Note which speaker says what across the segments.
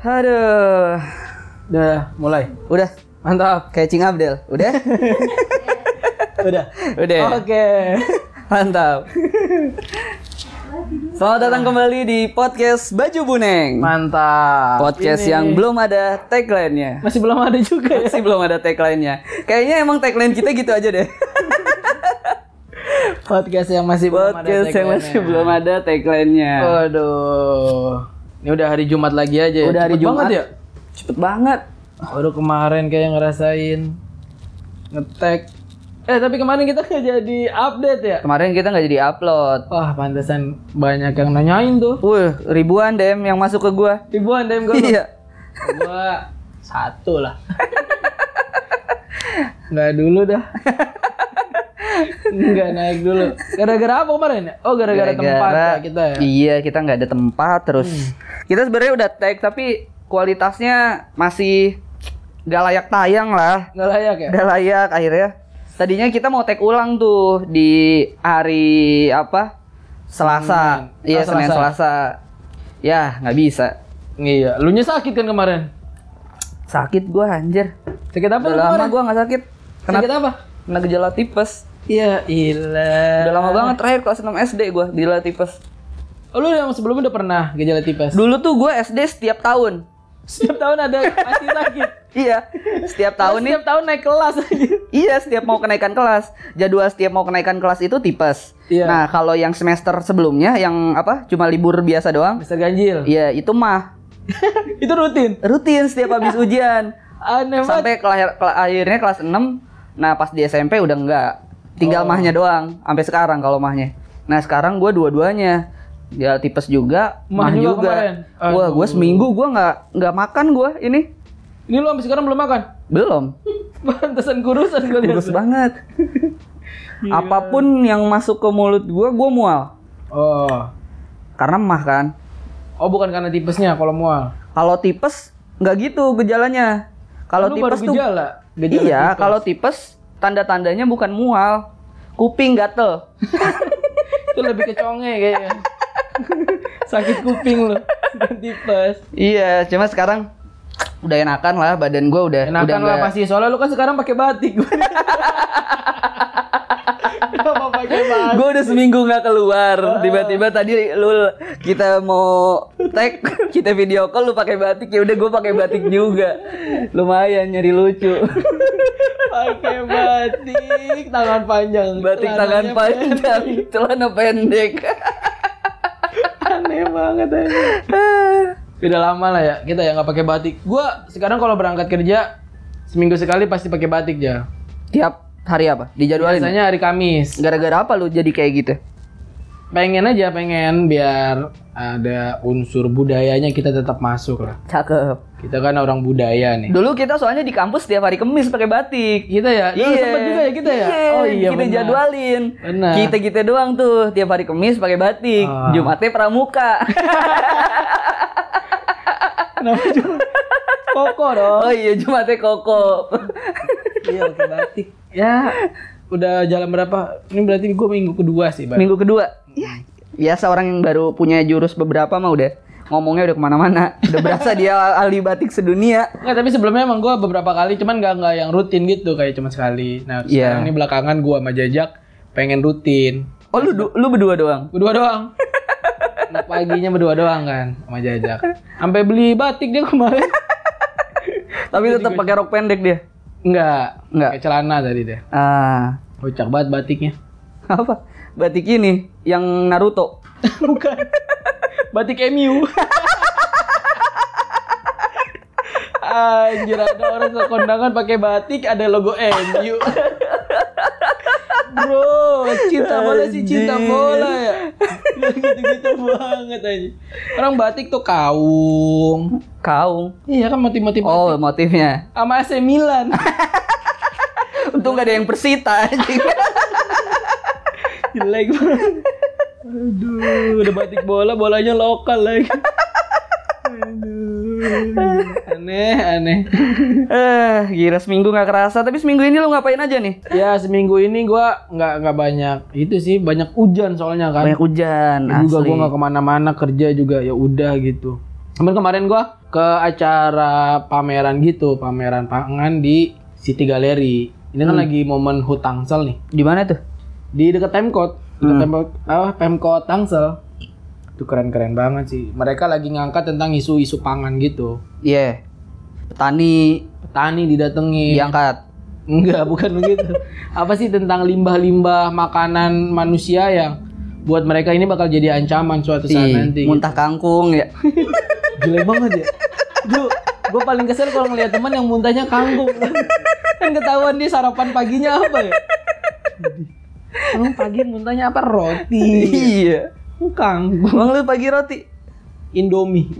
Speaker 1: Aduh.
Speaker 2: Udah mulai.
Speaker 1: Udah.
Speaker 2: Mantap.
Speaker 1: Kayak Cing Abdel. Udah?
Speaker 2: Udah.
Speaker 1: Udah.
Speaker 2: Oke.
Speaker 1: Mantap. Selamat datang kembali di podcast Baju Buneng.
Speaker 2: Mantap.
Speaker 1: Podcast
Speaker 2: Ini
Speaker 1: yang belum ada tagline-nya.
Speaker 2: masih belum ada juga ya.
Speaker 1: Masih belum ada tagline-nya. Kayaknya emang tagline kita gitu aja deh.
Speaker 2: Podcast yang masih
Speaker 1: Podcast yang
Speaker 2: ya.
Speaker 1: masih belum ada tagline-nya.
Speaker 2: Oh, Waduh. Ini udah hari Jumat lagi aja ya.
Speaker 1: Udah hari
Speaker 2: Cepet
Speaker 1: Jumat.
Speaker 2: banget ya.
Speaker 1: Cepet banget.
Speaker 2: Baru kemarin kayak ngerasain ngetek. Eh tapi kemarin kita nggak jadi update ya.
Speaker 1: Kemarin kita nggak jadi upload.
Speaker 2: Wah pantesan banyak yang nanyain tuh.
Speaker 1: Wuh, ribuan DM yang masuk ke gua.
Speaker 2: Ribuan DM gue.
Speaker 1: Iya.
Speaker 2: Gua satu lah. Nggak dulu dah. Nggak naik dulu. Gara-gara apa kemarin? ya? Oh, gara-gara tempat ya kita ya. Hmm.
Speaker 1: Iya, kita nggak ada tempat terus. Kita sebenarnya udah tag tapi kualitasnya masih nggak layak tayang lah.
Speaker 2: Nggak layak ya?
Speaker 1: Nggak layak akhirnya. Tadinya kita mau tag ulang tuh di hari apa? Selasa.
Speaker 2: Senin.
Speaker 1: Iya,
Speaker 2: Oh,
Speaker 1: Senin
Speaker 2: Selasa.
Speaker 1: Selasa. Ya, nggak bisa.
Speaker 2: Iya, lu nya sakit kan kemarin?
Speaker 1: Sakit gua anjir.
Speaker 2: Sakit apa lu
Speaker 1: Udah lama
Speaker 2: kemarin?
Speaker 1: gua nggak sakit. Kena,
Speaker 2: Sakit apa?
Speaker 1: kena gejala tipes.
Speaker 2: Ya ilah.
Speaker 1: Udah lama banget terakhir kelas 6 SD gua gejala tipes.
Speaker 2: Oh, lu yang sebelumnya udah pernah gejala tipes.
Speaker 1: Dulu tuh gua SD setiap tahun.
Speaker 2: Setiap tahun ada pasti sakit.
Speaker 1: Iya, setiap tahun nih
Speaker 2: Setiap tahun naik kelas aja.
Speaker 1: Iya, setiap mau kenaikan kelas. Jadwal setiap mau kenaikan kelas itu tipes.
Speaker 2: Iya.
Speaker 1: Nah, kalau yang semester sebelumnya yang apa? Cuma libur biasa doang.
Speaker 2: Bisa ganjil.
Speaker 1: Iya, itu mah
Speaker 2: Itu rutin.
Speaker 1: rutin setiap habis ujian.
Speaker 2: Aneh banget.
Speaker 1: Sampai kelahir- kela- akhirnya kelas 6. Nah, pas di SMP udah enggak.
Speaker 2: Oh.
Speaker 1: Tinggal mahnya doang sampai sekarang kalau mahnya. Nah, sekarang gua dua-duanya. Ya tipes juga,
Speaker 2: Mah
Speaker 1: mah,
Speaker 2: juga
Speaker 1: juga.
Speaker 2: kemarin?
Speaker 1: Wah, gua seminggu gua nggak nggak makan gua ini.
Speaker 2: Ini lu sampai sekarang belum makan?
Speaker 1: Belum.
Speaker 2: Pantesan kurusan kali ya.
Speaker 1: Kurus banget.
Speaker 2: Iya.
Speaker 1: Apapun yang masuk ke mulut gua, gua mual.
Speaker 2: Oh.
Speaker 1: Karena mah kan.
Speaker 2: Oh bukan karena tipesnya kalau mual.
Speaker 1: Kalau tipes nggak gitu gejalanya. Kalau
Speaker 2: Lu baru
Speaker 1: tipes tuh
Speaker 2: gejala. gejala
Speaker 1: iya,
Speaker 2: tipes.
Speaker 1: kalau tipes tanda-tandanya bukan mual. Kuping gatel.
Speaker 2: itu lebih ke conge kayaknya. Sakit kuping lu bukan tipes.
Speaker 1: iya, cuma sekarang udah enakan lah badan gua udah udah
Speaker 2: Enakan lah
Speaker 1: nggak-
Speaker 2: pasti soalnya lu kan sekarang pakai batik. Kenapa pakai batik?
Speaker 1: Gua udah seminggu nggak keluar. Tiba-tiba tadi lu kita mau tag, kita video call lu pakai batik ya udah gua pakai batik juga. Lumayan nyari lucu.
Speaker 2: Pakai batik tangan panjang.
Speaker 1: Batik tangan
Speaker 2: Celananya
Speaker 1: panjang, celana pendek.
Speaker 2: pendek. Aneh banget aja. Udah lama lah ya kita ya nggak pakai batik. Gua sekarang kalau berangkat kerja seminggu sekali pasti pakai batik ya.
Speaker 1: Tiap hari apa? Dijadwalin.
Speaker 2: Biasanya hari Kamis.
Speaker 1: Gara-gara apa lu jadi kayak gitu?
Speaker 2: pengen aja pengen biar ada unsur budayanya kita tetap masuk lah
Speaker 1: Cakep.
Speaker 2: kita kan orang budaya nih
Speaker 1: Dulu kita soalnya di kampus tiap hari kemis pakai batik.
Speaker 2: kita ya dulu sempet juga ya kita ya
Speaker 1: Iya,
Speaker 2: oh iya
Speaker 1: kita
Speaker 2: benar.
Speaker 1: jadwalin.
Speaker 2: Benar.
Speaker 1: Kita kita doang tuh tiap hari kemis pakai batik.
Speaker 2: Ah.
Speaker 1: Jumatnya pramuka.
Speaker 2: kenapa juga koko dong
Speaker 1: oh iya Jumatnya koko.
Speaker 2: iya pakai batik ya udah jalan berapa ini berarti gue minggu kedua sih Bang.
Speaker 1: Minggu kedua. Ya, biasa orang yang baru punya jurus beberapa mah udah ngomongnya udah kemana-mana. Udah berasa dia ahli batik sedunia.
Speaker 2: Nggak, tapi sebelumnya emang gue beberapa kali cuman nggak nggak yang rutin gitu kayak cuma sekali
Speaker 1: Iya.
Speaker 2: nah sekarang ini belakangan gue sama jajak pengen rutin
Speaker 1: Oh lu du- lu berdua doang.
Speaker 2: berdua doang anak paginya berdua doang kan sama jajak sampai beli batik dia kemarin
Speaker 1: Tapi tetap pakai rok pendek dia.
Speaker 2: Enggak,
Speaker 1: Enggak.
Speaker 2: Kayak celana tadi deh.
Speaker 1: Ah,
Speaker 2: Kocak banget batiknya.
Speaker 1: apa? Batik ini yang Naruto.
Speaker 2: Bukan. Batik MU. Anjir ada orang ke kondangan pakai batik ada logo MU. Bro, cinta bola sih cinta
Speaker 1: Anjir.
Speaker 2: bola ya. Gitu-gitu banget aja. Orang batik tuh kaung.
Speaker 1: Kaung.
Speaker 2: Iya kan motif-motif
Speaker 1: Oh, motifnya.
Speaker 2: sama AC Milan.
Speaker 1: Untung gak ada yang Persita anjing.
Speaker 2: Jelek banget. Aduh, udah batik bola, bolanya lokal lagi. Aduh. Aneh, aneh.
Speaker 1: Eh, gila seminggu nggak kerasa, tapi seminggu ini lu ngapain aja nih?
Speaker 2: Ya, seminggu ini gua nggak nggak banyak. Itu sih banyak hujan soalnya kan.
Speaker 1: Banyak hujan,
Speaker 2: juga
Speaker 1: asli.
Speaker 2: gua nggak kemana-mana kerja juga ya udah gitu. Cuman kemarin gua ke acara pameran gitu, pameran pangan di City Gallery. Ini kan
Speaker 1: Hmm.
Speaker 2: lagi momen HUT Tangsel nih.
Speaker 1: Di mana tuh?
Speaker 2: Di dekat Pemkot, dekat Pemkot, apa, Pemkot Tangsel. Itu keren-keren banget sih. Mereka lagi ngangkat tentang isu-isu pangan gitu.
Speaker 1: Iya. Petani
Speaker 2: Petani didatengin.
Speaker 1: diangkat.
Speaker 2: Enggak, bukan begitu. Apa sih tentang limbah-limbah makanan manusia yang buat mereka ini bakal jadi ancaman suatu saat
Speaker 1: Ih,
Speaker 2: nanti. gitu.
Speaker 1: muntah kangkung ya.
Speaker 2: Jelek banget ya. Duh, gue paling kesel kalau ngeliat teman yang muntahnya kangkung. Kan ketahuan dia sarapan paginya apa ya? Emang pagi muntahnya apa? Roti.
Speaker 1: iya.
Speaker 2: Kangkung.
Speaker 1: Bang lu pagi roti.
Speaker 2: Indomie.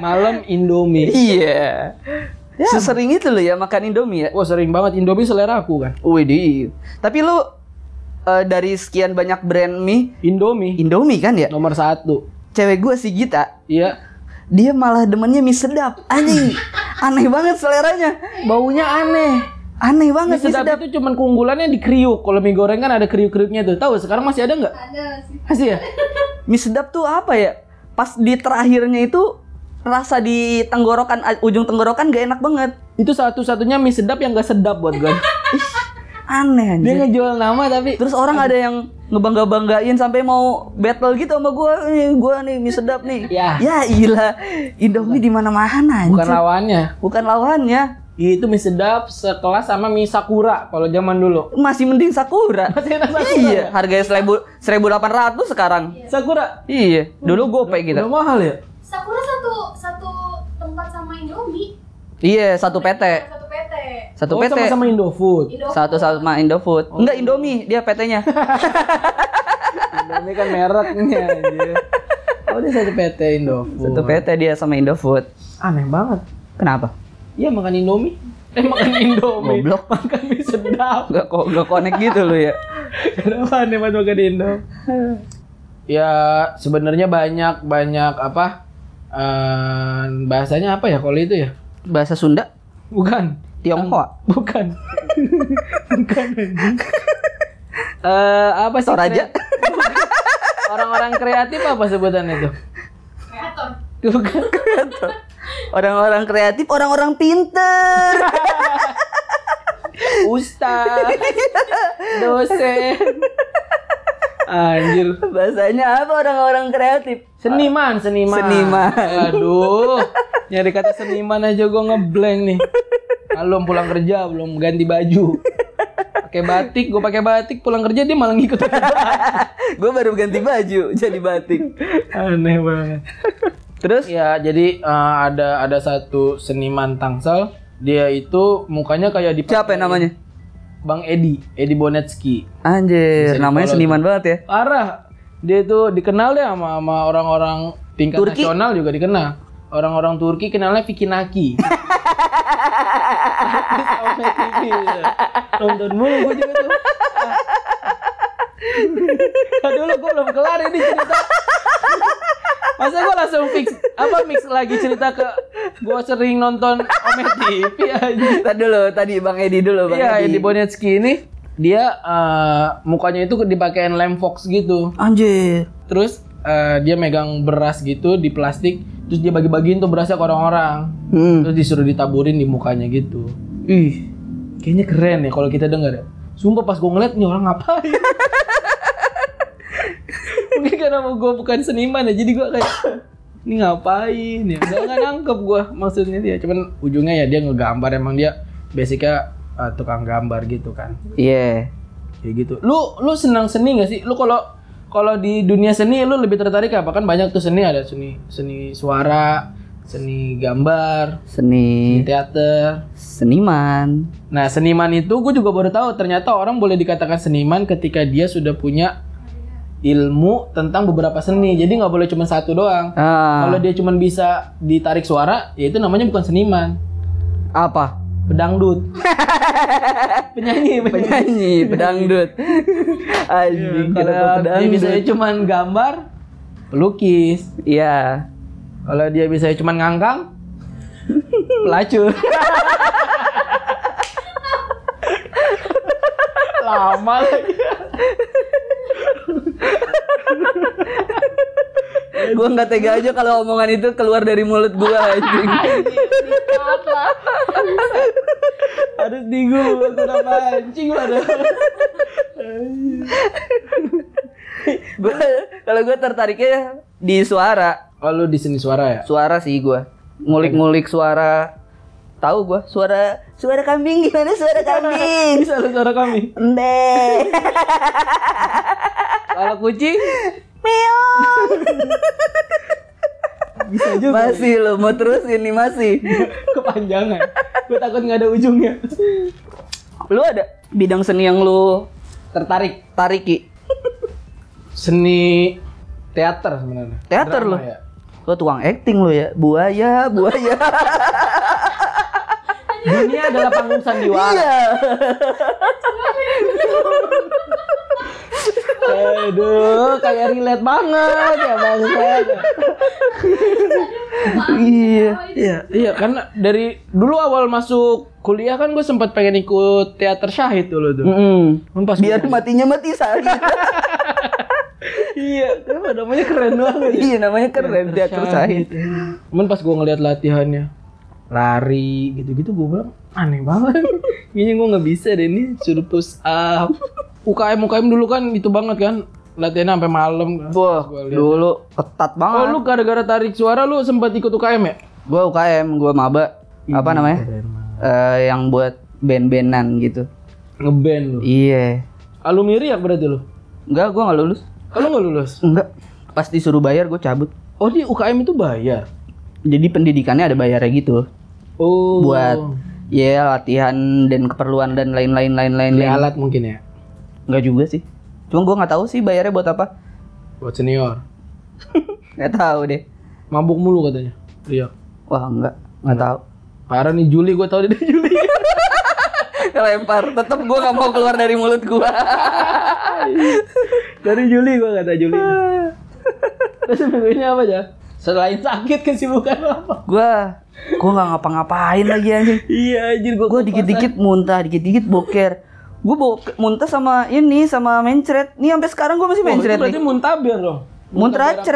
Speaker 2: Malam Indomie.
Speaker 1: Iya. Sesering itu lu ya makan Indomie ya.
Speaker 2: Wah sering banget Indomie selera aku kan.
Speaker 1: Wih, di. Tapi lu eh, dari sekian banyak brand mie,
Speaker 2: Indomie
Speaker 1: Indomie kan ya?
Speaker 2: nomor satu.
Speaker 1: Cewek gua si Gita,
Speaker 2: Iya.
Speaker 1: dia malah demennya mie sedap. Anjing. Aneh banget seleranya.
Speaker 2: Baunya aneh.
Speaker 1: Aneh banget
Speaker 2: Mie
Speaker 1: mie sedap.
Speaker 2: sedap itu cuman keunggulannya di kriuk. Kalau mie goreng kan ada kriuk-kriuknya tuh. Tahu sekarang masih ada nggak? Ada sih. Masih ya?
Speaker 1: Mie sedap tuh apa ya? Pas di terakhirnya itu rasa di tenggorokan a- ujung tenggorokan gak enak banget.
Speaker 2: Itu satu-satunya mie sedap yang gak sedap buat gue.
Speaker 1: Aneh
Speaker 2: Dia
Speaker 1: anjing.
Speaker 2: ngejual nama tapi
Speaker 1: Terus orang ada yang ngebangga-banggain sampai mau battle gitu sama gua. Nih, gua nih mie sedap nih.
Speaker 2: Ya.
Speaker 1: Ya ilah. Indomie di mana-mana anjing.
Speaker 2: bukan lawannya.
Speaker 1: Bukan ya. lawannya.
Speaker 2: Itu mie sedap sekelas sama mie sakura kalau zaman dulu.
Speaker 1: Masih mending Sakura.
Speaker 2: Masih enak sakura.
Speaker 1: Iya, harganya seribu seribu delapan ratus sekarang.
Speaker 2: Sakura.
Speaker 1: Iya, dulu gopay
Speaker 2: Udah
Speaker 1: gitu.
Speaker 2: mahal ya?
Speaker 3: Sakura satu satu tempat sama Indomie
Speaker 1: Iya, satu PT,
Speaker 3: satu PT.
Speaker 1: satu
Speaker 2: Oh,
Speaker 1: PT,
Speaker 2: sama sama Indofood. Oh.
Speaker 3: Indomie
Speaker 1: satu sama Indofood. Enggak Indomie, dia PT-nya.
Speaker 2: Ini kan mereknya anjir. Oh, dia satu PT Indofood.
Speaker 1: Satu PT dia sama Indofood.
Speaker 2: Aneh banget.
Speaker 1: Kenapa?
Speaker 2: Iya makan Indomie. Eh makan Indomie.
Speaker 1: Goblok.
Speaker 2: Makan mie sedap.
Speaker 1: Enggak kok enggak connect gitu lu ya.
Speaker 2: Kenapa aneh banget makan Indo? ya sebenarnya banyak banyak apa eh, bahasanya apa ya kalau itu ya?
Speaker 1: Bahasa Sunda,
Speaker 2: Bukan,
Speaker 1: Tionghoa.
Speaker 2: bukan, bukan. anjing. Eh, apa sih?
Speaker 1: Toraja.
Speaker 2: kre- Orang-orang kreatif apa sebutannya itu?
Speaker 3: kreator.
Speaker 2: Bukan.
Speaker 1: Orang-orang kreatif, orang-orang pinter.
Speaker 2: Ustaz, dosen. Anjir.
Speaker 1: Bahasanya apa orang-orang kreatif?
Speaker 2: Seniman, seniman.
Speaker 1: Seniman.
Speaker 2: Aduh, nyari kata seniman aja gua ngeblank nih. Belum pulang kerja, belum ganti baju. Pakai batik, gua pakai batik pulang kerja dia malah ngikut.
Speaker 1: Gue baru ganti baju jadi batik.
Speaker 2: Aneh banget.
Speaker 1: Terus
Speaker 2: Ya, jadi eh, ada ada satu seniman Tangsel, dia itu mukanya kayak di
Speaker 1: siapa yang namanya?
Speaker 2: Bang Edi, Edi Bonetski.
Speaker 1: Anjir, namanya seniman banget ya.
Speaker 2: Parah. Dia itu dikenal deh sama sama orang-orang tingkat
Speaker 1: Turki.
Speaker 2: nasional juga dikenal. Orang-orang Turki kenalnya Vicky Naki. Artis Ome TV, gitu. Nonton mulu gue juga tuh. Ah. Aduh lu gue belum kelar ini cerita. Masa gue langsung fix apa mix lagi cerita ke gue sering nonton Ome TV aja.
Speaker 1: Tadi dulu, tadi Bang Edi dulu, Bang
Speaker 2: Iya,
Speaker 1: Edi.
Speaker 2: di Bonetski ini dia eh, mukanya itu dipakein lem fox gitu.
Speaker 1: Anjir.
Speaker 2: Terus eh, dia megang beras gitu di plastik, terus dia bagi-bagiin tuh berasnya ke orang-orang.
Speaker 1: Hmm.
Speaker 2: Terus disuruh ditaburin di mukanya gitu.
Speaker 1: Ih,
Speaker 2: Kayaknya keren ya kalau kita denger ya. Sumpah pas gue ngeliat nih orang ngapain. Mungkin karena gue bukan seniman ya, jadi gue kayak ini ngapain ya? Gak, nggak nangkep gue maksudnya dia. Cuman ujungnya ya dia ngegambar emang dia basicnya eh, tukang gambar gitu kan.
Speaker 1: iya.
Speaker 2: Kayak gitu. Lu lu senang seni gak sih? Lu kalau kalau di dunia seni lu lebih tertarik apa? Kan banyak tuh seni ada seni seni suara, seni gambar, seni
Speaker 1: Seni,
Speaker 2: teater.
Speaker 1: seniman.
Speaker 2: Nah, seniman itu gue juga baru tahu ternyata orang boleh dikatakan seniman ketika dia sudah punya ilmu tentang beberapa seni. Jadi nggak boleh cuma satu doang.
Speaker 1: Ah,
Speaker 2: Kalau dia cuma bisa ditarik suara, ya itu namanya bukan seniman.
Speaker 1: apa?
Speaker 2: Pedangdut. penyanyi, penyanyi.
Speaker 1: Penyanyi, pedangdut. Anjing, kenapa
Speaker 2: Iya, Kalau dia
Speaker 1: pedangdut?
Speaker 2: bisa cuman gambar, pelukis.
Speaker 1: Iya.
Speaker 2: Kalau dia bisa cuman ngangkang, pelacur. Lama lagi. Ya
Speaker 1: Gua nggak tega aja kalau omongan itu keluar dari mulut gua anjing.
Speaker 3: Nikmat lah.
Speaker 2: Harus digulung udah mancing padahal.
Speaker 1: Gua kalau gua tertariknya di suara.
Speaker 2: Oh lu di sini suara ya?
Speaker 1: Suara sih gua. Ngulik-ngulik suara. Tahu gua suara suara kambing gimana suara kambing?
Speaker 2: Bisa lu suara kami.
Speaker 1: Mbe.
Speaker 2: Kalau kucing
Speaker 1: Meong.
Speaker 2: bisa juga.
Speaker 1: Masih lo mau terusin nih masih.
Speaker 2: Kepanjangan. Gue takut nggak ada ujungnya.
Speaker 1: Lu ada bidang seni yang lu
Speaker 2: Tertarik.
Speaker 1: tariki?
Speaker 2: Seni teater sebenarnya.
Speaker 1: Teater
Speaker 2: Drama ya.
Speaker 1: lu. Lo tukang acting lo ya. Buaya, buaya.
Speaker 2: Dunia adalah panggung sandiwara.
Speaker 1: Iya.
Speaker 2: Aduh, kayak relate banget ya bang.
Speaker 1: Iya.
Speaker 2: Iya, iya karena dari dulu awal masuk kuliah kan gue sempat pengen ikut teater syahid dulu tuh.
Speaker 1: Mm-mm.
Speaker 2: Cuman Pas
Speaker 1: Hmm. Biar matinya mati sakit.
Speaker 2: iya, kenapa namanya keren banget.
Speaker 1: Iya namanya keren teater Sahid.
Speaker 2: Cuman pas gue ngeliat latihannya lari gitu-gitu gue bilang aneh banget. Kayaknya gue nggak bisa deh ini suruh push up. UKM UKM dulu kan itu banget kan latihannya sampai malam.
Speaker 1: Wah,
Speaker 2: Gua liat.
Speaker 1: dulu ketat
Speaker 2: Oh
Speaker 1: banget.
Speaker 2: lu gara-gara tarik suara lu sempat ikut UKM ya?
Speaker 1: Gua UKM, gua maba. Apa
Speaker 2: Iya,
Speaker 1: namanya? Eh, yang buat band-bandan gitu.
Speaker 2: Ngeband lu.
Speaker 1: Iya.
Speaker 2: Alumni riak berarti lu.
Speaker 1: Enggak, gua nggak lulus.
Speaker 2: Kalau nggak lulus?
Speaker 1: Enggak. Pas disuruh bayar gua cabut.
Speaker 2: Oh di UKM itu bayar.
Speaker 1: Jadi pendidikannya ada bayarnya gitu.
Speaker 2: Oh.
Speaker 1: Buat ya latihan dan keperluan dan lain-lain lain-lain.
Speaker 2: beli
Speaker 1: lain.
Speaker 2: alat mungkin ya.
Speaker 1: Enggak juga sih. Cuma gua nggak tahu sih bayarnya buat apa.
Speaker 2: Buat senior.
Speaker 1: Nggak tahu deh.
Speaker 2: Mabuk mulu katanya. Iya.
Speaker 1: Wah, enggak. Nggak tahu.
Speaker 2: Parah nih Juli gue tau dia dari Juli.
Speaker 1: Kelempar, tetep gua nggak mau keluar dari mulut gua.
Speaker 2: dari Juli gue kata Juli. Terus minggu ini apa aja? Selain sakit kesibukan lo apa?
Speaker 1: gua gua nggak ngapa-ngapain lagi anjing
Speaker 2: Iya anjir
Speaker 1: gua dikit-dikit muntah dikit-dikit boker gua bok muntah sama ini sama mencret nih sampai sekarang gua masih
Speaker 2: Oh, itu
Speaker 1: mencret nih
Speaker 2: berarti muntaber dong.
Speaker 1: muntah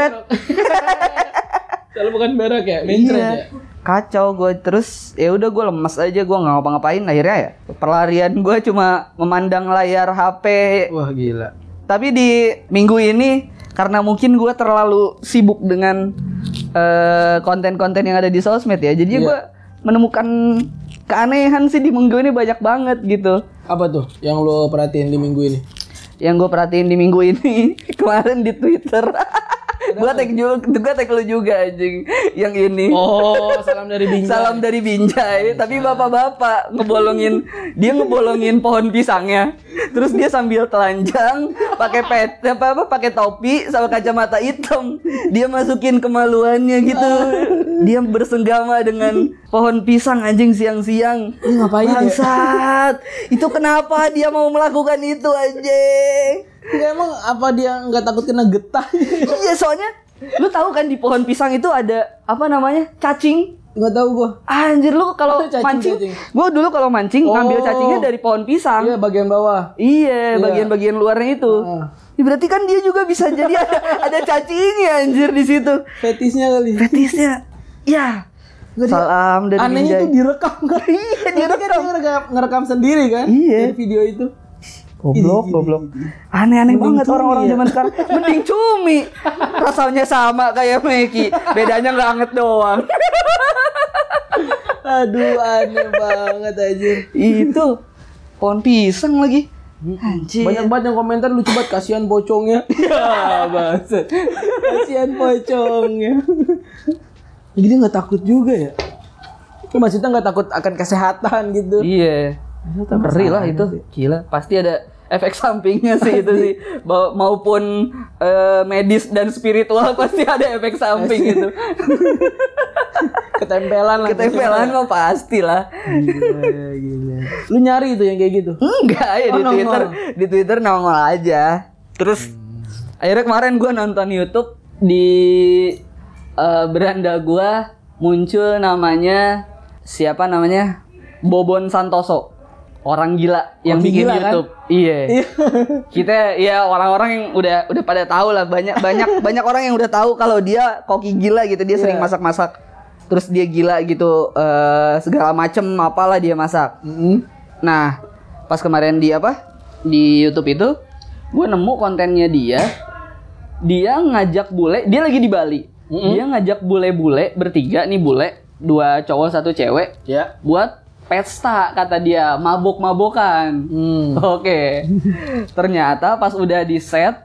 Speaker 2: Kalau bukan berak ya, mencret ya.
Speaker 1: iya kacau gua terus ya udah gua lemes aja gua nggak ngapa-ngapain akhirnya ya pelarian gua cuma memandang layar HP
Speaker 2: ya. Wah gila.
Speaker 1: tapi di minggu ini karena mungkin gua terlalu sibuk dengan eh, konten-konten yang ada di sosmed ya
Speaker 2: Iya.
Speaker 1: jadi gua menemukan keanehan sih di minggu ini banyak banget gitu
Speaker 2: Apa tuh yang lo perhatiin di minggu ini?
Speaker 1: yang gue perhatiin di minggu ini kemarin di Twitter. gue tag juga, gue tag lu juga anjing yang ini.
Speaker 2: Oh, salam dari Binjai.
Speaker 1: Salam dari Binjai, tapi bapak-bapak ngebolongin dia ngebolongin pohon pisangnya. Terus dia sambil telanjang, pakai pet apa apa pakai topi sama kacamata hitam. Dia masukin kemaluannya gitu. Dia bersenggama dengan pohon pisang anjing siang-siang.
Speaker 2: Ini ngapain ya?
Speaker 1: Bangsat. Itu kenapa dia mau melakukan itu anjing?
Speaker 2: Nggak, emang apa dia nggak takut kena getah?
Speaker 1: Iya, soalnya lu tahu kan di pohon pisang itu ada apa namanya? cacing.
Speaker 2: Nggak tahu gua.
Speaker 1: Anjir lu kalau
Speaker 2: Cacing,
Speaker 1: mancing,
Speaker 2: cacing.
Speaker 1: gua dulu kalau mancing
Speaker 2: Oh.
Speaker 1: ngambil cacingnya dari pohon pisang.
Speaker 2: Iya bagian bawah.
Speaker 1: Iya, bagian-bagian luarnya itu.
Speaker 2: Ah.
Speaker 1: Ya, berarti kan dia juga bisa jadi ada, ada cacingnya anjir di situ.
Speaker 2: Fetisnya kali.
Speaker 1: Fetisnya. Ya. Salam dari Binjai.
Speaker 2: Anehnya itu direkam kan? Iya direkam. Kan dia ngerekam, ngerekam sendiri kan?
Speaker 1: Iya.
Speaker 2: Dari video itu.
Speaker 1: Goblok, goblok. Aneh-aneh banget orang-orang
Speaker 2: ya.
Speaker 1: zaman sekarang. Mending cumi. Rasanya sama kayak Meki. Bedanya nggak anget doang.
Speaker 2: Aduh aneh banget aja.
Speaker 1: Itu pohon pisang lagi. Anjir.
Speaker 2: Banyak banget yang komentar lucu banget kasihan pocongnya. Ya banget. kasihan pocongnya. Jadi dia nggak takut juga ya? Maksudnya nggak takut akan kesehatan gitu?
Speaker 1: Iya. Ngeri lah itu. Gila, pasti ada efek sampingnya sih itu sih. Ba- Maupun eh, medis dan spiritual pasti ada efek samping itu.
Speaker 2: Ketempelan lah. gitu.
Speaker 1: Ketempelan mah pasti lah.
Speaker 2: Gila, gila. Lu nyari itu yang kayak gitu?
Speaker 1: Enggak ya di
Speaker 2: Oh, nongol.
Speaker 1: Twitter, di Twitter nongol aja. Terus akhirnya kemarin gua nonton YouTube di eh, beranda gua muncul namanya siapa namanya Bobon Santoso. orang gila yang
Speaker 2: Orang
Speaker 1: bikin
Speaker 2: gila, kan?
Speaker 1: YouTube. Iya. Kita ya orang-orang yang udah udah pada tahu lah banyak banyak banyak orang yang udah tahu kalau dia koki gila gitu, dia sering
Speaker 2: Iya.
Speaker 1: masak-masak. Terus dia gila gitu eh, segala macem apalah dia masak.
Speaker 2: Mm-mm.
Speaker 1: Nah, pas kemarin di apa? Di YouTube itu gue nemu kontennya dia. Dia ngajak bule, dia lagi di Bali.
Speaker 2: Mm-mm.
Speaker 1: Dia ngajak bule-bule bertiga nih bule, dua cowok satu cewek
Speaker 2: Ya.
Speaker 1: buat pesta kata dia, mabok-mabokan.
Speaker 2: Hmm.
Speaker 1: Oke. Ternyata pas udah di set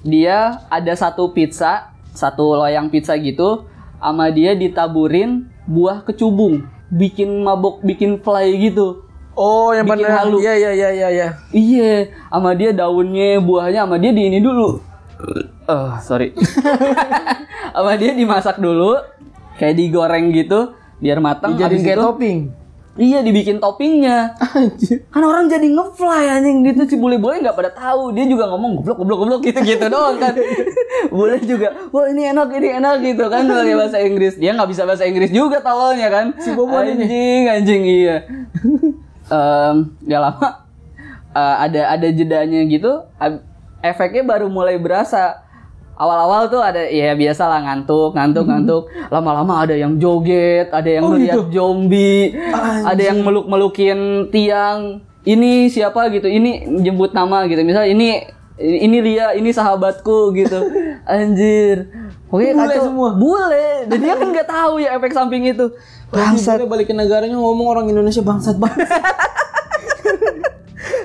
Speaker 1: dia ada satu pizza, satu loyang pizza gitu sama dia ditaburin buah kecubung, bikin mabok, bikin fly gitu.
Speaker 2: Oh, yang
Speaker 1: Bikin
Speaker 2: pernah
Speaker 1: halu.
Speaker 2: Iya, iya, iya, iya, iya.
Speaker 1: Iya, sama dia daunnya, buahnya sama dia di ini dulu. Eh, sorry. sama dia dimasak dulu, kayak digoreng gitu, biar matang.
Speaker 2: Dijadiin
Speaker 1: habis
Speaker 2: kayak
Speaker 1: itu-
Speaker 2: topping.
Speaker 1: Iya, dibikin toppingnya.
Speaker 2: Anjir.
Speaker 1: Kan orang jadi ngefly anjing, itu si bule-bule nggak pada tahu. Dia juga ngomong goblok goblok goblok gitu-gitu doang kan. bule juga, wah ini enak, ini enak gitu kan pakai bahasa Inggris. Dia nggak bisa bahasa Inggris juga tolongnya kan. Si
Speaker 2: Bobon ini.
Speaker 1: anjing, anjing iya. Em, nggak lama eh, ada ada jedanya gitu, ab- efeknya baru mulai berasa. Awal-awal tuh ada ya biasa lah ngantuk, ngantuk, ngantuk. Lama-lama ada yang joget, ada yang
Speaker 2: Hmm. Oh,
Speaker 1: ngeliat
Speaker 2: gitu?
Speaker 1: zombie,
Speaker 2: Anjing.
Speaker 1: ada yang meluk-melukin tiang. Ini siapa gitu, ini jemput nama gitu. Misal ini ini Lia, ini sahabatku gitu. Anjir. Oke,
Speaker 2: Bule semua.
Speaker 1: Bule. Dan dia kan nggak tahu ya efek samping itu. Bangsat.
Speaker 2: Bangsat. balik ke negaranya ngomong orang Indonesia bangsat banget.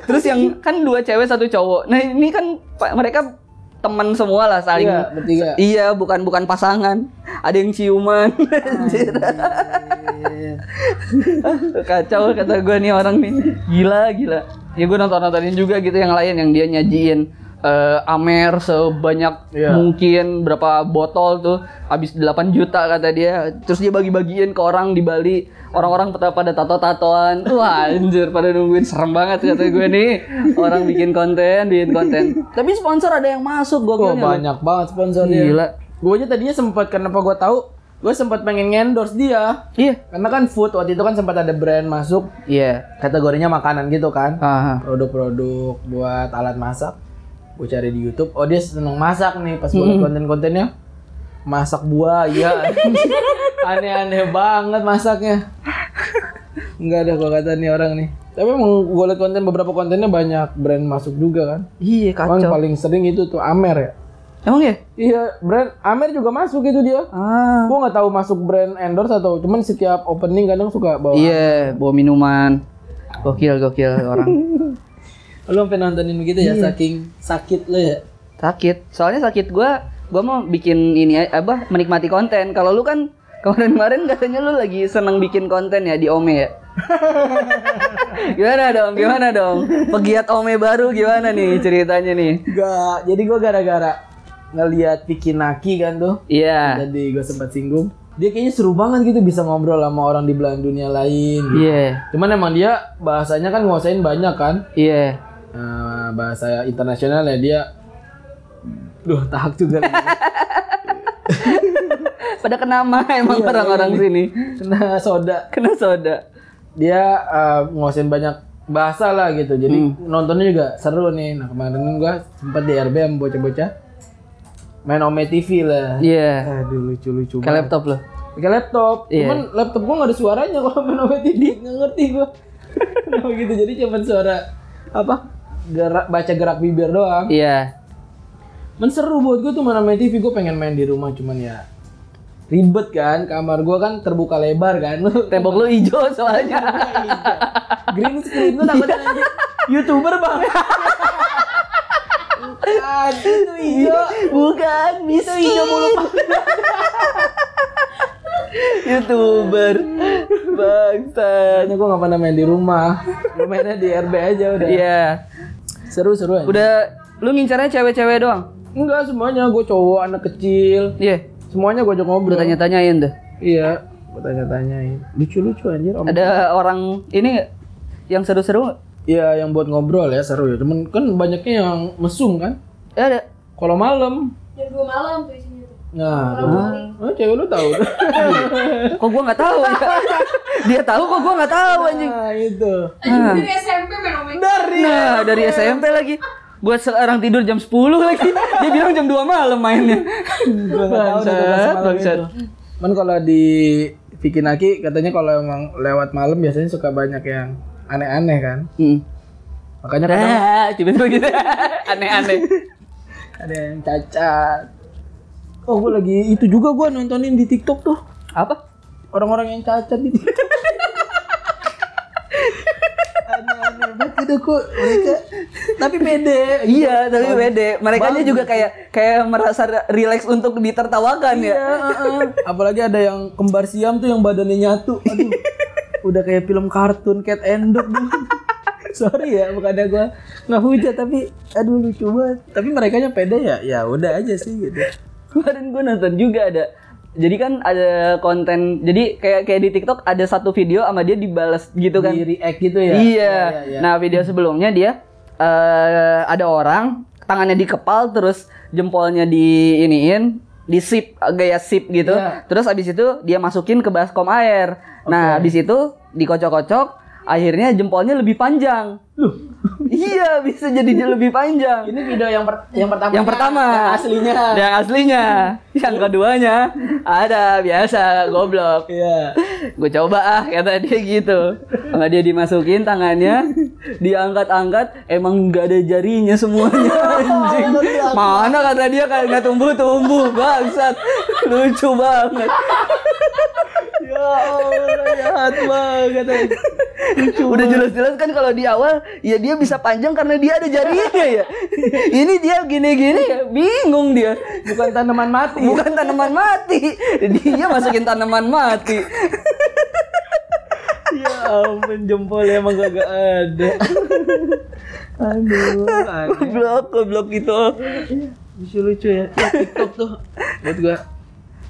Speaker 1: Terus yang
Speaker 2: Iya.
Speaker 1: kan dua cewek satu cowok. Nah ini kan pa- mereka teman semua lah saling.
Speaker 2: Iya, bertiga.
Speaker 1: Iya, bukan bukan pasangan. Ada yang ciuman.
Speaker 2: Ah,
Speaker 1: Anjir.
Speaker 2: iya.
Speaker 1: Kacau kata gue nih orang nih. Gila gila. Ya gue nonton nontonin juga gitu yang lain yang dia nyajiin eh, Amer sebanyak
Speaker 2: Iya.
Speaker 1: mungkin berapa botol tuh habis 8 juta kata dia terus dia bagi-bagiin ke orang di Bali orang-orang pada pada tato-tatoan wah anjir pada nungguin serem banget kata gue nih orang bikin konten bikin konten tapi sponsor ada yang masuk gue
Speaker 2: Wah, banyak banget sponsornya.
Speaker 1: Gila.
Speaker 2: Gue aja tadinya sempat kenapa gue tahu, gue sempat pengen endorse dia.
Speaker 1: iya
Speaker 2: Karena kan food waktu itu kan sempat ada brand masuk
Speaker 1: iya
Speaker 2: kategorinya makanan gitu kan.
Speaker 1: Ah.
Speaker 2: Produk-produk buat alat masak. Gue cari di YouTube, oh dia seneng masak nih pas gue liat
Speaker 1: Hmm.
Speaker 2: konten-kontennya. Masak buah, ya. Aneh-aneh banget masaknya. Enggak ada gue kata nih orang nih. Tapi emang gue liat konten beberapa kontennya banyak brand masuk juga kan.
Speaker 1: iya
Speaker 2: Emang
Speaker 1: kacau
Speaker 2: paling sering itu tuh Amer ya.
Speaker 1: emang ya
Speaker 2: Iya, brand Amer juga masuk itu dia.
Speaker 1: ah
Speaker 2: Gua nggak tahu masuk brand endorse atau cuman setiap opening kadang suka bawa.
Speaker 1: iya bawa minuman gokil gokil orang
Speaker 2: Lo sampai nontonin begitu
Speaker 1: Iya.
Speaker 2: ya saking sakit lo ya.
Speaker 1: sakit soalnya sakit gua gua mau bikin ini a- apa menikmati konten kalau lu kan kemarin-kemarin katanya lu lagi seneng bikin konten ya di Ome ya gimana dong gimana dong pegiat Ome baru gimana nih ceritanya nih
Speaker 2: Gak, jadi gua gara-gara ngelihat Vicky Naki kan tuh.
Speaker 1: iya
Speaker 2: Tadi gua sempat singgung. Dia kayaknya seru banget gitu bisa ngobrol sama orang di belahan dunia lain.
Speaker 1: iya
Speaker 2: Cuman emang dia bahasanya kan nguasain banyak kan.
Speaker 1: iya
Speaker 2: Nah, bahasa internasional ya dia. Duh, tahak juga.
Speaker 1: pada kenama emang orang-orang sini
Speaker 2: Kena soda.
Speaker 1: kena soda
Speaker 2: dia uh, nguasain banyak bahasa lah gitu jadi nontonnya juga seru nih nah kemarin gua sempat di RBM bocah-bocah main Ome TV lah
Speaker 1: iya
Speaker 2: aduh lucu-lucu
Speaker 1: ke
Speaker 2: banget
Speaker 1: laptop lu
Speaker 2: pakai laptop
Speaker 1: Iya.
Speaker 2: cuman laptop gua gak ada suaranya kalau main Ome TV nggak ngerti gua kenapa gitu jadi cuman suara apa gerak baca gerak bibir doang
Speaker 1: iya
Speaker 2: Men seru buat gue tuh main main TV gue pengen main di rumah cuman ya ribet kan kamar gua kan terbuka lebar kan
Speaker 1: tembok lu hijau soalnya
Speaker 2: green screen lu takutnya
Speaker 1: Iya.
Speaker 2: nanti youtuber bang Bukan, itu
Speaker 1: iya.
Speaker 2: hijau
Speaker 1: bukan
Speaker 2: Itu hijau mulu Pak.
Speaker 1: youtuber bangsat
Speaker 2: Kayaknya gue gak pernah main di rumah Gue mainnya di RB aja udah
Speaker 1: iya
Speaker 2: Seru-seru aja
Speaker 1: Udah lu ngincarnya cewek-cewek doang.
Speaker 2: Enggak semuanya, gue cowok, anak kecil
Speaker 1: Iya.
Speaker 2: Semuanya gue ajak ngobrol
Speaker 1: Udah tanya-tanyain tuh.
Speaker 2: Iya, gue tanya-tanyain Lucu-lucu anjir om
Speaker 1: Ada orang ini nggak? yang seru-seru nggak?
Speaker 2: Iya, yang buat ngobrol ya seru ya Cuman kan banyaknya yang mesum kan
Speaker 1: Eh, ada.
Speaker 2: Kalau malam
Speaker 3: Jam 2 malam tuh isinya tuh.
Speaker 2: Nah,
Speaker 3: Kurang
Speaker 2: tuh.
Speaker 3: putih.
Speaker 2: oh, cewek lu tahu.
Speaker 1: Kok gua nggak tahu ya? Dia tahu kok gua nggak tahu anjing.
Speaker 2: Nah, itu.
Speaker 1: Nah.
Speaker 3: Dari SMP main omeng.
Speaker 2: Dari
Speaker 1: Nah, dari SMP lagi. Gua sekarang tidur jam 10 lagi. Dia bilang jam 2 malam mainnya.
Speaker 2: Gua nggak tahu deh kalau
Speaker 1: Bangsat,
Speaker 2: semalam
Speaker 1: bangsat.
Speaker 2: itu. Cuman kalau di Vicky Naki katanya kalau emang lewat malam biasanya suka banyak yang aneh-aneh kan.
Speaker 1: Hmm.
Speaker 2: Makanya kadang
Speaker 1: Ah, tiba-tiba gitu. Aneh-aneh.
Speaker 2: ada yang cacat. Oh, gue lagi itu juga gue nontonin di TikTok tuh
Speaker 1: Apa?
Speaker 2: orang-orang yang cacat di TikTok. aneh-aneh banget gitu kok mereka. Tapi pede.
Speaker 1: Iya, tapi beda. Mereka aja juga kayak kayak merasa rileks untuk ditertawakan ya.
Speaker 2: Iya, heeh. Apalagi ada yang kembar siam tuh yang badannya nyatu. Aduh. Udah kayak film kartun Cat and Dog. dulu. Sorry ya, bukan ada gua nggak hujat tapi aduh lucu banget. Tapi mereka nya pede ya. Ya udah aja sih gitu.
Speaker 1: Kemarin gue nonton juga ada. Jadi kan ada konten. Jadi kayak kayak di TikTok ada satu video sama dia dibalas gitu kan.
Speaker 2: Di react gitu ya.
Speaker 1: Iya.
Speaker 2: Ya, ya, ya.
Speaker 1: Nah, video sebelumnya dia eh ada orang tangannya dikepal terus jempolnya di iniin, di sip gaya sip gitu.
Speaker 2: Iya.
Speaker 1: Terus abis itu dia masukin ke baskom air. Nah, abis itu dikocok-kocok akhirnya jempolnya lebih panjang.
Speaker 2: Loh.
Speaker 1: iya, bisa jadi lebih panjang.
Speaker 2: Ini video yang per- yang pertama.
Speaker 1: Yang pertama
Speaker 2: Yang aslinya.
Speaker 1: Yang aslinya. Yang keduanya ada biasa goblok
Speaker 2: Iya.
Speaker 1: gue coba ah kata dia gitu sama dia dimasukin tangannya diangkat-angkat emang nggak ada jarinya semuanya anjing mana kata dia kayak nggak tumbuh-tumbuh bangsat lucu banget
Speaker 2: Ya Allah, ya jahat banget.
Speaker 1: udah jelas-jelas kan kalau di awal ya dia bisa panjang karena dia ada jarinya ya ini dia gini-gini ya bingung dia
Speaker 2: Bukan tanaman mati.
Speaker 1: bukan tanaman mati dia masukin tanaman mati
Speaker 2: Ya ampun jempolnya emang kagak ada. Aduh, aneh.
Speaker 1: goblok goblok gitu
Speaker 2: lucu lucu ya. Ya, TikTok tuh buat gua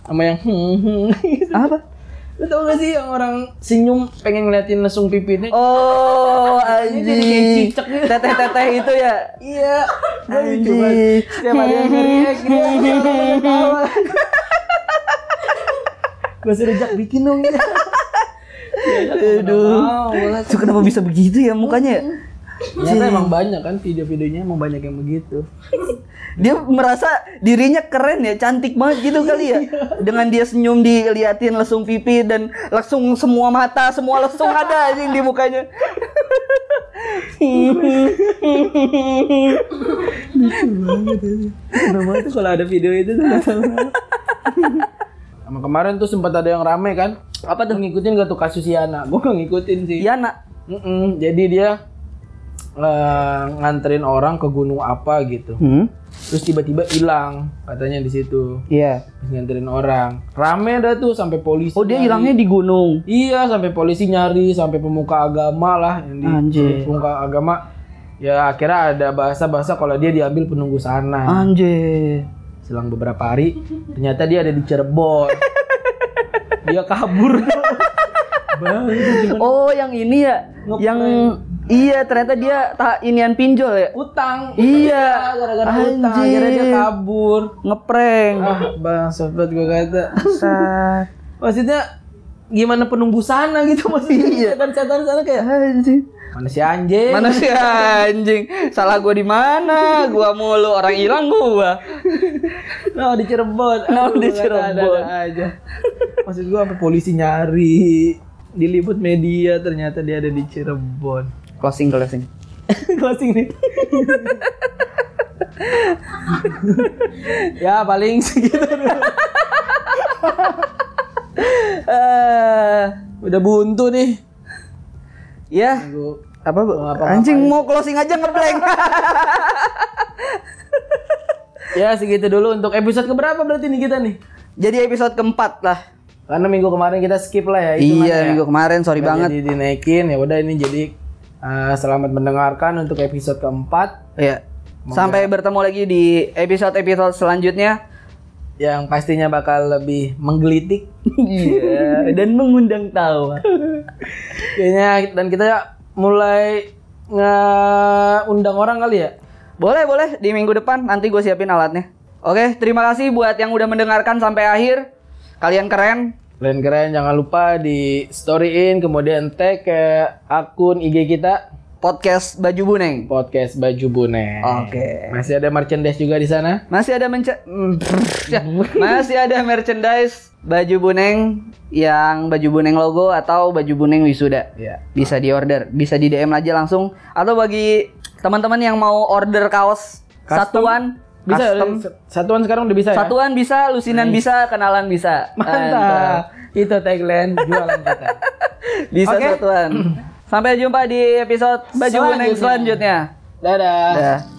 Speaker 2: sama yang hmm, hmm gitu.
Speaker 1: apa
Speaker 2: Lu tau gak sih yang orang senyum pengen ngeliatin lesung pipinya?
Speaker 1: Oh,
Speaker 2: Ini jadi kayak
Speaker 1: anjing.
Speaker 2: cicak gitu.
Speaker 1: Teteh-teteh itu ya.
Speaker 2: Iya, gua lucu
Speaker 1: Anjing.
Speaker 2: banget. Setiap ada yang ya, nge-react dia ketawa. Gua suruh jak bikin dong ya.
Speaker 1: Aduh. Tuh, kenapa bisa begitu ya mukanya? ya?
Speaker 2: Ternyata emang banyak kan video-videonya emang banyak yang begitu.
Speaker 1: Dia merasa dirinya keren ya, cantik banget gitu kali
Speaker 2: Iya.
Speaker 1: ya. Dengan dia senyum diliatin lesung pipi dan langsung semua mata, semua lesung ada anjing di mukanya.
Speaker 2: Iya. Serem banget tuh kalau ada video itu tuh nggak tahu. Sama kemarin tuh sempat ada yang rame kan. Apa tuh Ya. ngikutin gak tuh kasus Yana? Gue gak ngikutin sih.
Speaker 1: Iya, Nak.
Speaker 2: Mm-mm, jadi dia eh, nganterin orang ke gunung apa gitu.
Speaker 1: Hmm?
Speaker 2: Terus tiba-tiba hilang katanya di situ.
Speaker 1: Iya.
Speaker 2: Terus nganterin orang. Rame dah tuh sampai polisi.
Speaker 1: Oh, dia
Speaker 2: nyari.
Speaker 1: hilangnya di gunung.
Speaker 2: Iya, sampai polisi nyari, sampai pemuka agama lah yang di
Speaker 1: Anjir.
Speaker 2: pemuka agama. Ya akhirnya ada bahasa-bahasa kalau dia diambil penunggu sana.
Speaker 1: Anjir.
Speaker 2: Selang beberapa hari, ternyata dia ada di Cirebon. dia kabur. Bang, itu cuman
Speaker 1: Oh, yang ini ya.
Speaker 2: Ngeprank.
Speaker 1: Yang iya, ternyata dia tak inian pinjol ya.
Speaker 2: utang.
Speaker 1: Iya.
Speaker 2: Iya, gara-gara utang.
Speaker 1: Anjing.
Speaker 2: Akhirnya dia kabur.
Speaker 1: Ngeprank.
Speaker 2: Ah, bang, sobat gue kata. Maksudnya gimana penunggu sana gitu maksudnya? Setan-setan sana kayak
Speaker 1: Anjing.
Speaker 2: mana si anjing?
Speaker 1: Mana sih anjing? Salah gua di mana? Gua mulu orang hilang gua.
Speaker 2: No, Nah, di Cirebon.
Speaker 1: No,
Speaker 2: Aduh,
Speaker 1: di
Speaker 2: gua kata ada-ada
Speaker 1: Cirebon.
Speaker 2: aja. Maksud gua sampai polisi nyari. Diliput media ternyata dia ada di Cirebon.
Speaker 1: Closing closing.
Speaker 2: closing nih. ya paling segitu dulu.
Speaker 1: Eh,
Speaker 2: Udah buntu nih.
Speaker 1: ya
Speaker 2: Minggu.
Speaker 1: apa Bu?
Speaker 2: ngapa-ngapain.
Speaker 1: anjing mau closing aja ngeblank.
Speaker 2: Ya segitu dulu untuk episode keberapa berarti nih kita nih?
Speaker 1: Jadi episode keempat lah.
Speaker 2: Karena minggu kemarin kita skip lah ya. hitungannya
Speaker 1: iya
Speaker 2: ya.
Speaker 1: minggu kemarin sorry
Speaker 2: Nggak
Speaker 1: banget.
Speaker 2: Jadi dinaikin ya udah ini jadi eh, selamat mendengarkan untuk episode keempat
Speaker 1: Iya. Sampai bertemu lagi di episode episode selanjutnya.
Speaker 2: yang pastinya bakal lebih menggelitik.
Speaker 1: Iya. Dan mengundang tawa.
Speaker 2: Kayaknya dan kita mulai ngeundang orang kali ya.
Speaker 1: Boleh boleh di minggu depan nanti gue siapin alatnya. Oke, terima kasih buat yang udah mendengarkan sampai akhir. Kalian keren.
Speaker 2: Keren-keren jangan lupa di storyin kemudian tag ke akun IG kita
Speaker 1: Podcast Baju Buneng.
Speaker 2: podcast baju bune.
Speaker 1: Oke.
Speaker 2: Masih ada merchandise juga di sana.
Speaker 1: Masih ada mence Mm, ya. Masih ada merchandise baju buneng yang baju buneng logo atau baju buneng wisuda.
Speaker 2: Iya.
Speaker 1: Bisa di order, bisa di DM aja langsung atau bagi teman-teman yang mau order kaos
Speaker 2: Custom.
Speaker 1: satuan
Speaker 2: Bisa
Speaker 1: custom,
Speaker 2: satuan sekarang udah bisa ya.
Speaker 1: satuan bisa, lusinan bisa, kenalan bisa. Mantap.
Speaker 2: Mantap. Itu tagline jualan kita.
Speaker 1: Bisa
Speaker 2: Oke.
Speaker 1: satuan. Sampai jumpa di episode baju buneng
Speaker 2: Selanjutnya.
Speaker 1: selanjutnya.
Speaker 2: Dadah.
Speaker 1: Dah.